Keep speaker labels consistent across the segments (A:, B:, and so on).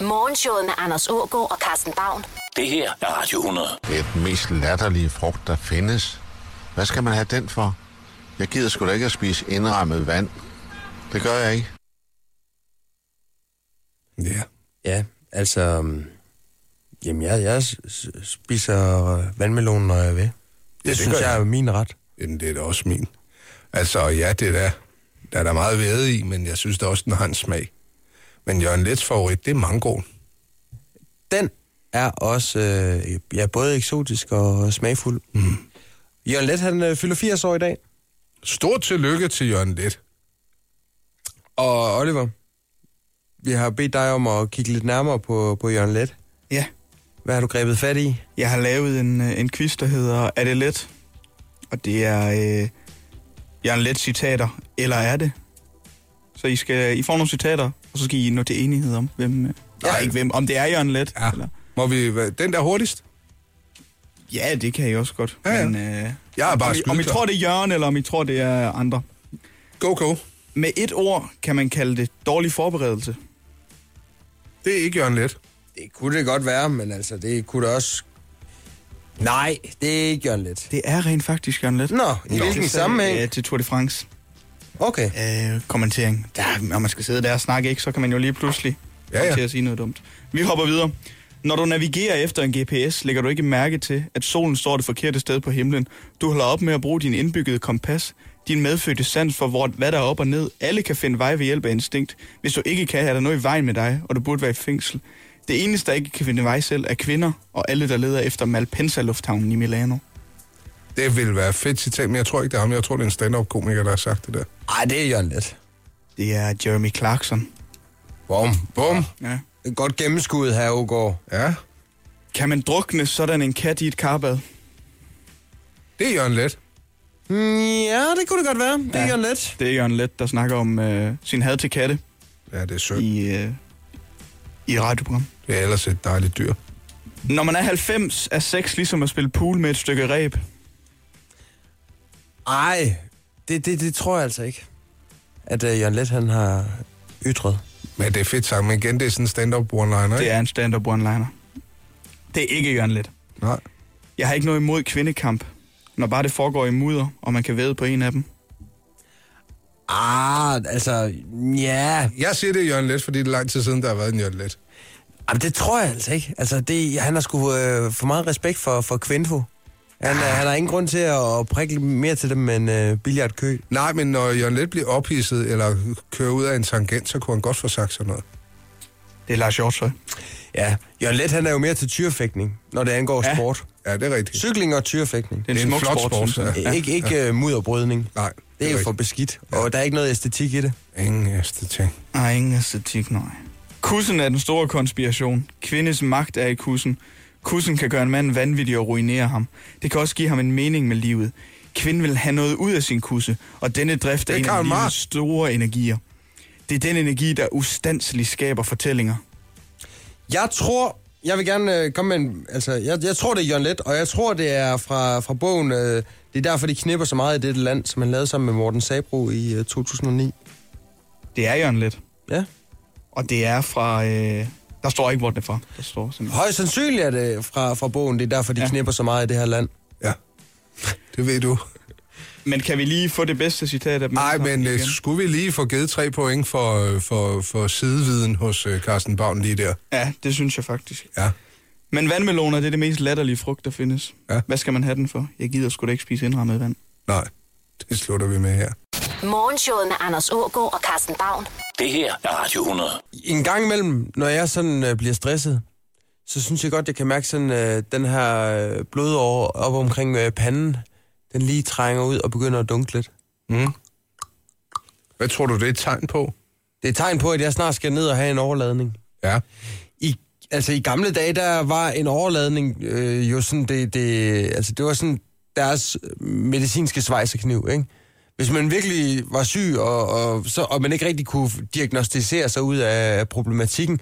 A: Morgenshowet med Anders Ågaard og Carsten Baum.
B: Det her er Radio 100.
C: Det er den mest latterlige frugt, der findes. Hvad skal man have den for? Jeg gider sgu da ikke at spise indrammet vand. Det gør jeg ikke.
D: Ja.
E: Ja, altså... øhm, Jamen, jeg, jeg s- s- spiser øh, vandmelon, når jeg vil. Det, det
D: det
E: synes
D: gør
E: jeg
D: jeg.
E: er min ret.
D: Jamen, det er da også min. Altså, ja, det er da, der er der meget væde i, men jeg synes da også, den har en smag. Men Jørgen Lets favorit, det er mangoen.
E: Den er også øh, ja, både eksotisk og smagfuld. Mm. Jørgen Let, han øh, fylder 80 år i dag.
D: Stort tillykke til Jørgen Let.
E: Og Oliver, vi har bedt dig om at kigge lidt nærmere på, på Jørgen Let.
F: Ja,
E: Hvad har du grebet fat i?
F: jeg har lavet en, øh, en quiz, der hedder Er det let? Og det er øh, Jørgen Let citater, eller er det? Så I, skal, I får nogle citater, og så skal I nå til enighed om, hvem, øh, nej, ikke hvem, om det er Jørgen Let.
D: Ja.
F: Eller,
D: Må vi, hvad- den der hurtigst?
F: ja, det kan I også godt.
D: Ja, ja.
F: Men, øh,
D: Jeg er bare
F: om, I, om I
D: skydeklar.
F: tror, det er Jørgen, eller om I tror, det er andre.
D: Go, go.
F: Med et ord kan man kalde det dårlig forberedelse.
D: Det er ikke Jørgen Let.
E: Det kunne det godt være, men altså, det kunne det også... Nej, det er ikke Jørgen Let.
F: Det er rent faktisk Jørgen Let.
E: Nå, i hvilken
F: Til-
E: sammenhæng?
F: øh, Til Tour de France.
E: Okay.
F: øh, kommentering. Der, når man skal sidde der og snakke, ikke, så kan man jo lige pludselig
D: Ja,
F: ja,
D: ja.
F: ja. til at sige noget dumt. Vi hopper videre. Når du navigerer efter en GPS, lægger du ikke mærke til, at solen står det forkerte sted på himlen. Du holder op med at bruge din indbyggede kompas, din medfødte sans for, hvor, hvad der er op og ned. Alle kan finde vej ved hjælp af instinkt. Hvis du ikke kan, er der noget i vejen med dig, og du burde være i fængsel. Det eneste, der ikke kan finde vej selv, er kvinder og alle, der leder efter Malpensa-lufthavnen i Milano.
D: Det ville være et fedt citat, men jeg tror ikke, det er ham. Jeg tror, det er en stand-up-komiker, der har sagt det der.
E: Ej, det er Jørgen Let.
F: Det er Jeremy Clarkson.
E: Bum.
D: Bum.
F: Ja.
E: Et godt gennemskud her, Ågaard.
D: Ja,
F: Kan man drukne sådan en kat i et karbad?
D: det er Jørgen Let.
E: Mm, ja, det kunne det godt være. Det er ja. Jørgen Let.
F: Det er Jørgen Let, der snakker om øh, sin had til katte
D: Ja, det er synd.
F: i, øh, i et radioprogram.
D: Det er ellers et dejligt dyr.
F: Når man er 90, er sex ligesom at spille pool med et stykke ræb.
E: Ej, det, det, det tror jeg altså ikke, at uh, Jørgen Let han har ytret.
D: Men det er fedt sagt, men igen, det er sådan en stand-up one-liner,
F: Det
D: ikke?
F: er en stand-up one-liner. Det er ikke Jørgen Let.
D: Nej.
F: Jeg har ikke noget imod kvindekamp, når bare det foregår i mudder, og man kan væde på en af dem.
E: Ah, altså, ja.
D: Jeg siger, det er Jørgen Let, fordi det er lang tid siden, der har været en Jørgen Let.
E: Jamen, det tror jeg altså ikke. Altså, det, han har sgu øh, for meget respekt for, for Kvinfo. Han, ah. han har ingen grund til at prikke mere til dem end øh, billiardkø.
D: Nej, men når Jørgen Let bliver ophidset eller kører ud af en tangent, så kunne han godt få sagt sådan noget.
F: Det er Lars Hjortøj.
E: Ja, Jørgen Let han er jo mere til tyrefægtning, når det angår ja.
F: Ja.
E: sport.
D: Ja, det er rigtigt.
E: Cykling og tyrefægtning.
F: Det er en, smuk
D: flot
F: sport,
D: sport,
F: synes jeg.
D: ja.
E: Ja. Ikke, ikke ja. mudderbrydning.
D: Nej, det er
E: Det er jo for
D: rigtigt.
E: beskidt, og der er ikke noget æstetik i det.
D: Ingen æstetik.
F: Ej, ingen æstetik, nej. Kussen er den store konspiration. Kvindes magt er i kussen. Kussen kan gøre en mand vanvittig og ruinere ham. Det kan også give ham en mening med livet. Kvinden vil have noget ud af sin kusse, og denne drift
D: Det
F: er,
D: er
F: en
D: Karl
F: af livets
D: Marx.
F: store energier. Det er den energi, der ustandsligt skaber fortællinger.
E: Jeg tror, jeg vil gerne øh, komme med en, altså, jeg, jeg tror, det er Jørgen Let, og jeg tror, det er fra, fra bogen, øh, det er derfor, de knipper så meget i dette land, som han lavede sammen med Morten Sabro i øh, 2009.
F: Det er Jørgen Let.
E: Ja.
F: Og det er fra... Øh... Der står ikke, hvor den er fra. Der står simpelthen.
E: Højst sandsynligt er det fra, fra bogen, det er derfor, de ja.
F: Ja.
E: knipper så meget i det her land.
D: Ja, det ved du.
F: Men kan vi lige få det bedste citat af dem?
D: Nej,
F: alle sammen
D: men øh,
F: igen?
D: skulle vi lige få givet tre point for, øh, for, for sideviden hos øh, Carsten Bavn lige der?
F: Ja, det synes jeg faktisk.
D: Ja.
F: Men vandmeloner, det er det mest latterlige frugt, der findes.
D: Ja.
F: Ja. Hvad skal man have den for? Jeg gider sgu da ikke spise indrammet vand.
D: Nej, det slutter vi med her.
A: Morgenshowet med Anders Ågaard og Carsten Baum.
B: Det her er Radio 100.
E: En gang imellem, når jeg sådan øh, bliver stresset, så synes jeg godt, jeg kan mærke sådan øh, den her øh, blodår op omkring øh, panden, den lige trænger ud og begynder at dunke lidt.
D: Hvad tror du, det er et tegn på?
E: Det er et tegn på, at jeg snart skal ned og have en overladning.
D: Ja.
E: i, altså i gamle dage, der var en overladning øh, jo sådan, det, det, altså det var sådan deres medicinske svejsekniv, ikke? Hvis man virkelig var syg, og, og, så, og man ikke rigtig kunne diagnostisere sig ud af problematikken,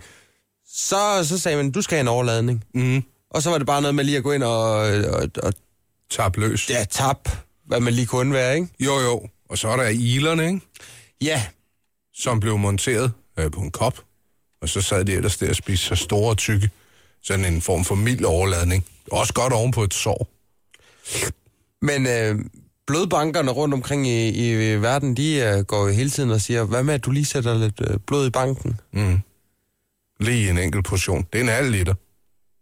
E: så, så sagde man, du skal have en overladning.
D: Mm.
E: Og så var det bare noget med lige at gå ind og, og, og
D: Tab løs.
E: ja, tab, hvad man lige kunne være, ikke?
D: Jo, jo. Og så er der ilerne, ikke?
E: Ja,
D: Som blev monteret øh, på en kop. Og så sad de ellers der og spiste så store og tykke, sådan en form for mild overladning. Også godt oven på et sår.
E: Men øh, blodbankerne rundt omkring i, i verden, de øh, går jo hele tiden og siger, hvad med, at du lige sætter lidt øh, blod i banken?
D: Lige en enkelt portion. Det er en halv liter.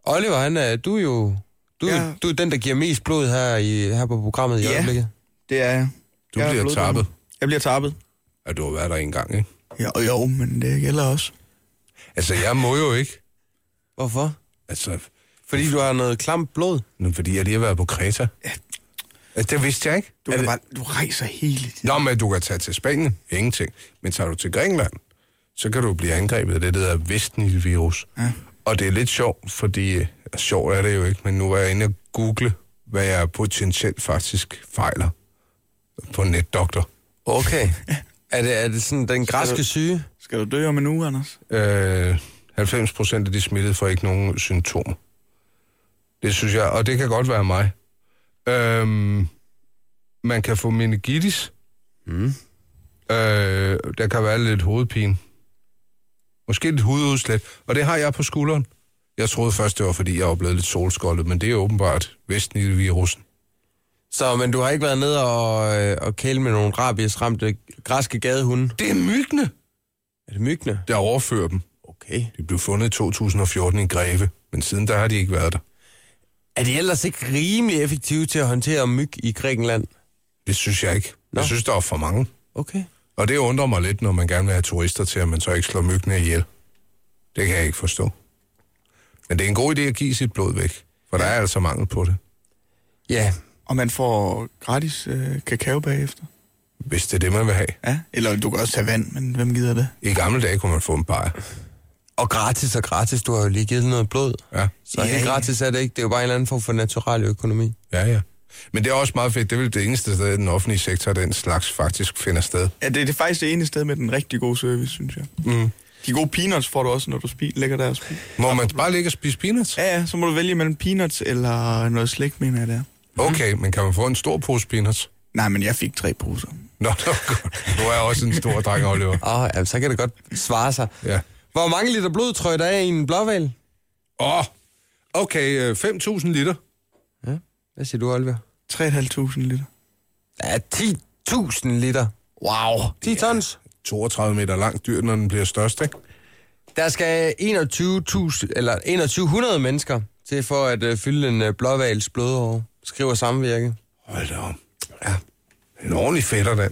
E: Oliver, han er, du er jo du, ja.
F: Ja.
E: du er den, der giver mest blod her, i, her på programmet i
F: Ja.
E: øjeblikket.
F: Det er jeg.
D: Du
F: Jeg er
D: bliver
F: blodbanker.
D: tappet.
F: Jeg bliver tappet.
D: Ja, du har været der en gang, ikke?
F: Jo, jo, men det gælder også.
D: Altså, jeg må jo ikke.
E: Hvorfor?
D: Altså,
E: Fordi du har noget klamt blod.
D: nu, fordi jeg lige har været på Kreta.
F: Ja.
D: Altså, det vidste jeg ikke.
F: Du,
D: Er
F: kan
D: det-
F: bare, du rejser hele tiden.
D: Nå, men du kan tage til Spanien. Ingenting. Men tager du til Grækenland, så kan du blive angrebet af det, der hedder Vestnil-virus. Ja. Og det er lidt sjovt, fordi... øh, Sjovt er det jo ikke, men nu er jeg inde og google, hvad jeg potentielt faktisk fejler på netdoktor.
E: Okay. er, det, er det sådan den græske syge?
F: Skal du dø om en uge, Anders?
D: Øh, 90 procent af de smittede får ikke nogen symptomer. Det synes jeg, og det kan godt være mig. Øhm, man kan få meningitis. Mm. Øh, der kan være lidt hovedpine. Måske lidt hududslæt, og det har jeg på skulderen. Jeg troede først, det var, fordi jeg var blevet lidt solskoldet, men det er åbenbart vestnilvirusen.
E: Så, men du har ikke været nede og, øh, og kæle med nogle rabiesramte græske gadehunde?
D: Det er myggene,
E: Er det myggene?
D: der overfører dem.
E: Okay.
D: De blev fundet i 2014 i Greve, men siden der har de ikke været der.
E: Er de ellers ikke rimelig effektive til at håndtere myg i Grækenland?
D: Det synes jeg ikke. Nå. Jeg synes, der er for mange.
E: Okay.
D: Og det undrer mig lidt, når man gerne vil have turister til, at man så ikke slår myggene ihjel. Det kan jeg ikke forstå. Men det er en god idé at give sit blod væk, for der er altså mangel på det,
E: Ja,
F: Og man får gratis øh, kakao bagefter.
D: hvis det er det, man vil have.
F: Ja, eller du kan også tage vand, men hvem gider det?
D: I gamle dage kunne man få en bajer.
E: og gratis og gratis. Du har jo lige givet noget blod.
D: Ja,
E: Så
F: Ja,
E: ja, helt
F: ja.
E: gratis er det ikke. Det er jo bare en eller anden form for natural økonomi.
D: ja, ja. Men det er også meget fedt. Det er vel det eneste sted, i den offentlige sektor, den slags faktisk finder sted.
F: Ja, det, det er faktisk det ene sted med den rigtig gode service, synes jeg.
D: Mm.
F: De gode peanuts får du også, når du spi- lægger der og spiser.
D: Må man bare ligge og spise peanuts?
F: Ja, ja, så må du vælge mellem peanuts eller noget slik, mener jeg det er.
D: Okay, men kan man få en stor pose peanuts?
F: Nej, men jeg fik tre poser.
D: Nå, nå godt. Du er også en stor dreng, Oliver.
E: Åh, oh, ja, så kan det godt svare sig.
D: Ja.
E: Hvor mange liter blod tror I, der er i en blåval?
D: Åh, oh, okay, øh, 5.000 liter.
E: Hvad siger du, Oliver?
F: 3.500 liter.
E: Ja, 10.000 liter. Wow. 10 tons.
D: 32 meter langt dyr, når den bliver størst, ikke?
E: Der skal 21.000 eller 2100 mennesker til for at øh, fylde en øh, blåvals blodår, skriver samvirke.
D: Hold da op. Ja. En ordentlig fætter, den.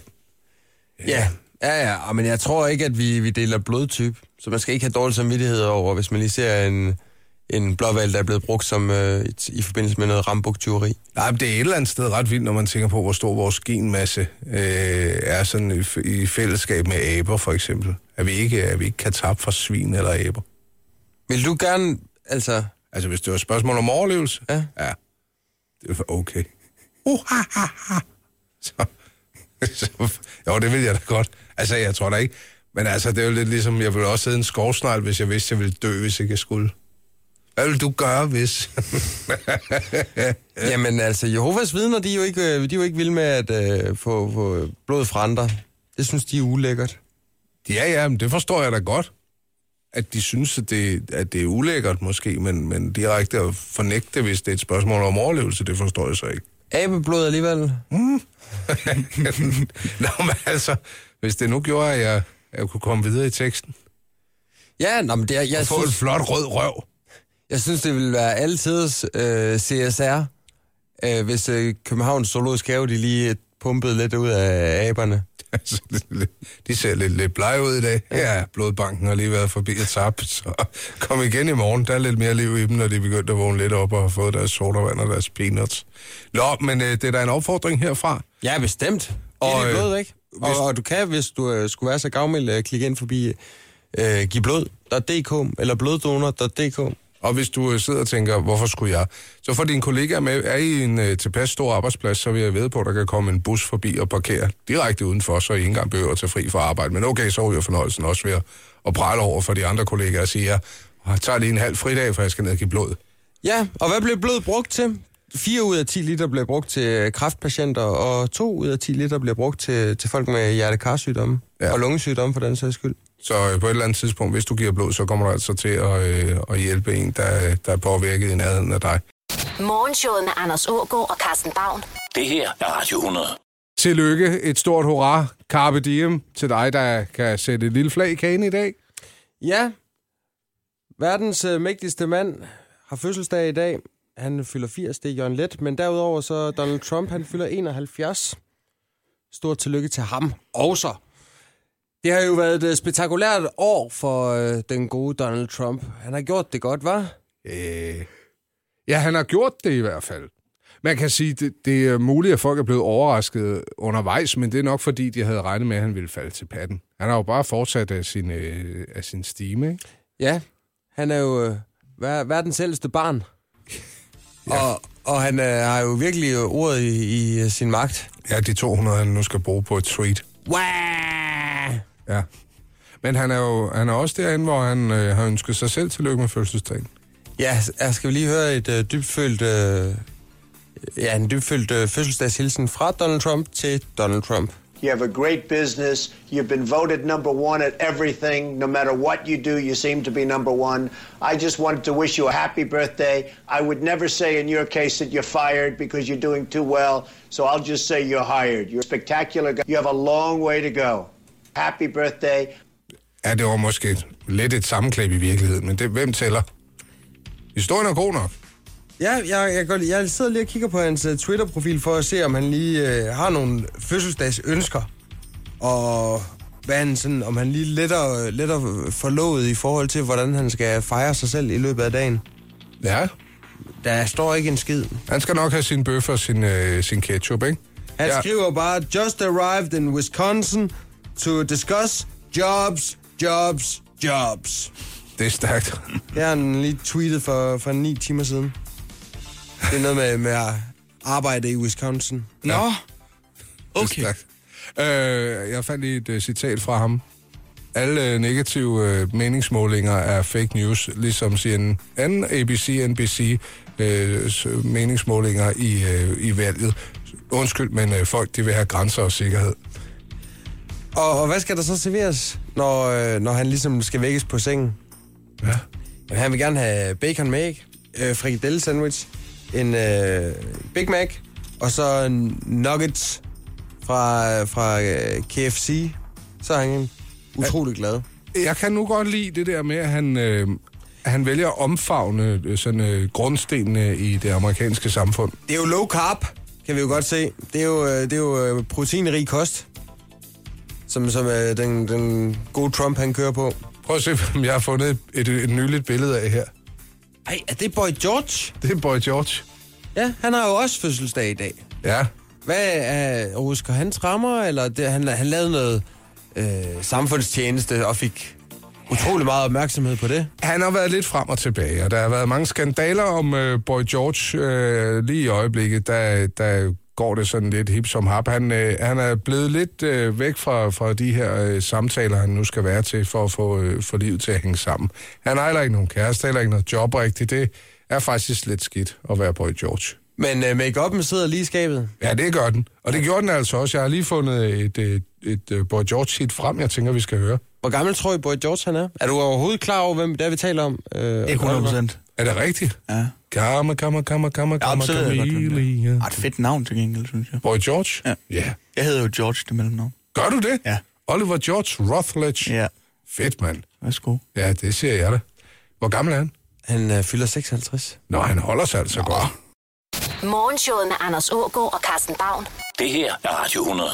E: Ja. Ja, ja, og men jeg tror ikke, at vi, vi deler blodtype, så man skal ikke have dårlig samvittighed over, hvis man lige ser en, en blåval, der er blevet brugt som, øh, i- i forbindelse med noget rambuktyveri.
D: Nej, men det er et eller andet sted ret vildt, når man tænker på, hvor stor vores genmasse øh, er sådan i, f- i fællesskab med aber, for eksempel. At vi ikke, at vi ikke kan tabe for svin eller aber.
E: Vil du gerne, altså,
D: Altså, hvis det var et spørgsmål om overlevelse,
E: Ja.
D: ja det var okay. Uh, ha, ha, ha. Så, så, jo, det vil jeg da godt. Altså, jeg tror da ikke. Men altså, det er jo lidt ligesom, jeg ville også sidde i en skovsnegl, hvis jeg vidste, jeg ville dø, hvis ikke jeg skulle. Hvad ville du gøre, hvis...
E: Ja. Jamen altså, Jehovas vidner, de er jo ikke, øh, de er jo ikke vilde med at øh, få, få blod fra andre. Det synes de er ulækkert.
D: Ja, ja, men det forstår jeg da godt. At de synes, at det, at det er ulækkert måske, men, men direkte at fornægte det, hvis det er et spørgsmål om overlevelse, det forstår jeg så ikke.
E: Abeblod alligevel.
D: Nå, men altså, hvis det nu gjorde, at jeg, at jeg kunne komme videre i teksten.
E: Ja, nå, men det er, jeg,
D: Jeg få en
E: synes,
D: flot rød røv.
E: jeg synes, det ville være altidens øh, CSR, øh, hvis øh, Københavns Zoologisk Have, de lige øh, pumpede lidt ud af aberne.
D: Altså, det er lidt- de ser lidt, lidt blege ud i dag. Ja, blodbanken har lige været forbi et tap, så kom igen i morgen. Der er lidt mere liv i dem, når de er begyndt at vågne lidt op og har fået deres sodavand og deres peanuts. Nå, men øh, det er da en opfordring herfra.
E: Ja, bestemt.
D: Og,
E: Og, det
D: øh,
E: blod, ikke?
D: hvis-
E: Og, og du kan, hvis du øh, skulle være så gavmild, øh, klikke ind forbi øh, givblod.dk eller bloddonor.dk.
D: Og hvis du øh, sidder og tænker, hvorfor skulle jeg? Så får dine kollegaer med. Er I en øh, tilpas stor arbejdsplads, så vil jeg ved på, at der kan komme en bus forbi og parkere direkte udenfor, så I ikke engang behøver at tage fri fra arbejde. Men okay, så ryger fornøjelsen også ved at, at prale over for de andre kollegaer og sige, jeg tager lige en halv fridag, for jeg skal ned og give blod.
E: Ja, og hvad blev blod brugt til? 4 ud af 10 liter blev brugt til øh, kræftpatienter, og 2 ud af 10 liter blev brugt til, til folk med hjertekarsygdomme
D: Ja.
E: ja. og lungesygdomme for den sags skyld.
D: Så øh, på et eller andet tidspunkt, hvis du giver blod, så kommer du altså til at, øh, at hjælpe en, der, øh, der er påvirket i nærheden af dig.
A: Morgenshowet med Anders Ågaard og Carsten Baum.
B: Det her er Radio 100.
D: Tillykke, et stort hurra, Carpe Diem, til dig, der kan sætte et lille flag i kagen i dag.
E: Ja, verdens øh, mægtigste mand har fødselsdag i dag. Han fylder 80, det er Jørgen Let, men derudover så Donald Trump, han fylder 71. Stort tillykke til ham også. Det har jo været et øh, spektakulært år for øh, den gode Donald Trump. Han har gjort det godt, var?
D: Øh. Ja, han har gjort det i hvert fald. Man kan sige, det, det er muligt, at folk er blevet overrasket undervejs, men det er nok fordi, de havde regnet med, at han ville falde til patten. Han har jo bare fortsat af sin, øh, af sin stime, ikke?
E: Ja, han er jo øh, ver- verdens ældste barn. ja. Og, og han øh, har jo virkelig øh, ordet i, i øh, sin magt.
D: Ja, de 200, han nu skal bruge på et tweet.
E: Wow!
D: Ja. Men han er jo han er også derinde, hvor han øh, har ønsket sig selv tillykke med fødselsdagen.
E: Ja, s- ja, skal vi lige høre et øh, dybfølt, øh, ja, en dybfølt øh, fødselsdagshilsen fra Donald Trump til Donald Trump.
G: You have a great business. You've been voted number one at everything. No matter what you do, you seem to be number one. I just wanted to wish you a happy birthday. I would never say in your case that you're fired because you're doing too well. So I'll just say you're hired. You're a spectacular guy. You have a long way to go. Happy birthday.
D: Ja, det var måske lidt et sammenklip i virkeligheden, men det, hvem tæller? Historien er god nok.
E: Ja, jeg, jeg, går, jeg sidder lige og kigger på hans øh, Twitter-profil for at se, om han lige øh, har nogle fødselsdagsønsker. Og hvad han sådan, om han lige letter, letter forlovet i forhold til, hvordan han skal fejre sig selv i løbet af dagen.
D: Ja.
E: Der står ikke en skid.
D: Han skal nok have sin bøf og sin, øh, sin ketchup, ikke?
E: Han
D: Ja.
E: ja. skriver bare, just arrived in Wisconsin to discuss jobs, jobs, jobs.
D: Det er stærkt.
E: Det har han lige tweetet for, for ni timer siden. Det er noget med, med at arbejde i Wisconsin.
F: Nå,
D: Det
F: okay.
D: er stærkt. Øh, jeg fandt lige et øh, citat fra ham. Alle øh, negative øh, meningsmålinger er fake news, ligesom CNN, ABC, NBC øh, s- meningsmålinger i, øh, i valget. Undskyld, men øh, folk de vil have grænser og sikkerhed.
E: Og, og hvad skal der så serveres, når, øh, når han ligesom skal vækkes på sengen?
D: Ja.
E: Jamen, han vil gerne have bacon med æg, øh, frikadelle sandwich, en øh, Big Mac, og så en nuggets fra, fra øh, KFC. Så er han utrolig glad.
D: Jeg kan nu godt lide det der med, at han, øh, han vælger at omfavne øh, sådan, øh, grundstenene i det amerikanske samfund.
E: Det er jo low carb, kan vi jo godt se. Det er jo, øh, det er jo øh, proteinrig kost, som, som øh, den, den gode Trump, han kører på.
D: Prøv at se, hvem jeg har fundet et, et, et nyligt billede af her.
E: Ej, er det Boy George?
D: Det er Boy George.
E: Ja, han har jo også fødselsdag i dag.
D: Ja,
E: Hvad øh, rusker hans rammer, eller det, han, han lavede noget øh, samfundstjeneste og fik utrolig meget opmærksomhed på det?
D: Han har været lidt frem og tilbage, og der har været mange skandaler om øh, Boy George øh, lige i øjeblikket. Der, der går det sådan lidt hip som hap. Han, øh, han er blevet lidt øh, væk fra, fra de her øh, samtaler, han nu skal være til for at få, øh, få livet til at hænge sammen. Han har heller ikke nogen kæreste, heller ikke noget job rigtigt. Det er faktisk lidt skidt at være Boy George.
E: Men øh, make-up'en sidder lige i skabet.
D: Ja, det gør den. Og det gjorde den altså også. Jeg har lige fundet et, et, et, et Boy George-hit frem, jeg tænker, vi skal høre.
E: Hvor gammel tror I Boy George han er? Er du overhovedet klar over, hvem det er, vi taler om? Øh,
F: Ikke 100 procent.
D: Er det rigtigt?
F: Ja.
D: Kammer, kammer, kammer, kammer,
F: Ja,
D: kammer,
F: så ved jeg godt, hvem det
D: kammer,
F: er. Ej, et fedt navn til gengæld, synes jeg.
D: Boy George?
F: Ja.
D: ja.
F: Jeg hedder jo George, det mellemnavn.
D: Gør du det?
F: Ja.
D: Oliver George Routledge?
F: Ja.
D: Fedt, mand.
F: Værsgo.
D: Ja, det ser jeg da. Hvor gammel er han?
E: Han øh, fylder 56.
D: Nå, han holder sig altså godt.
A: Morgenshowet med Anders Ågaard og Carsten Baum.
B: Det her er Radio 100.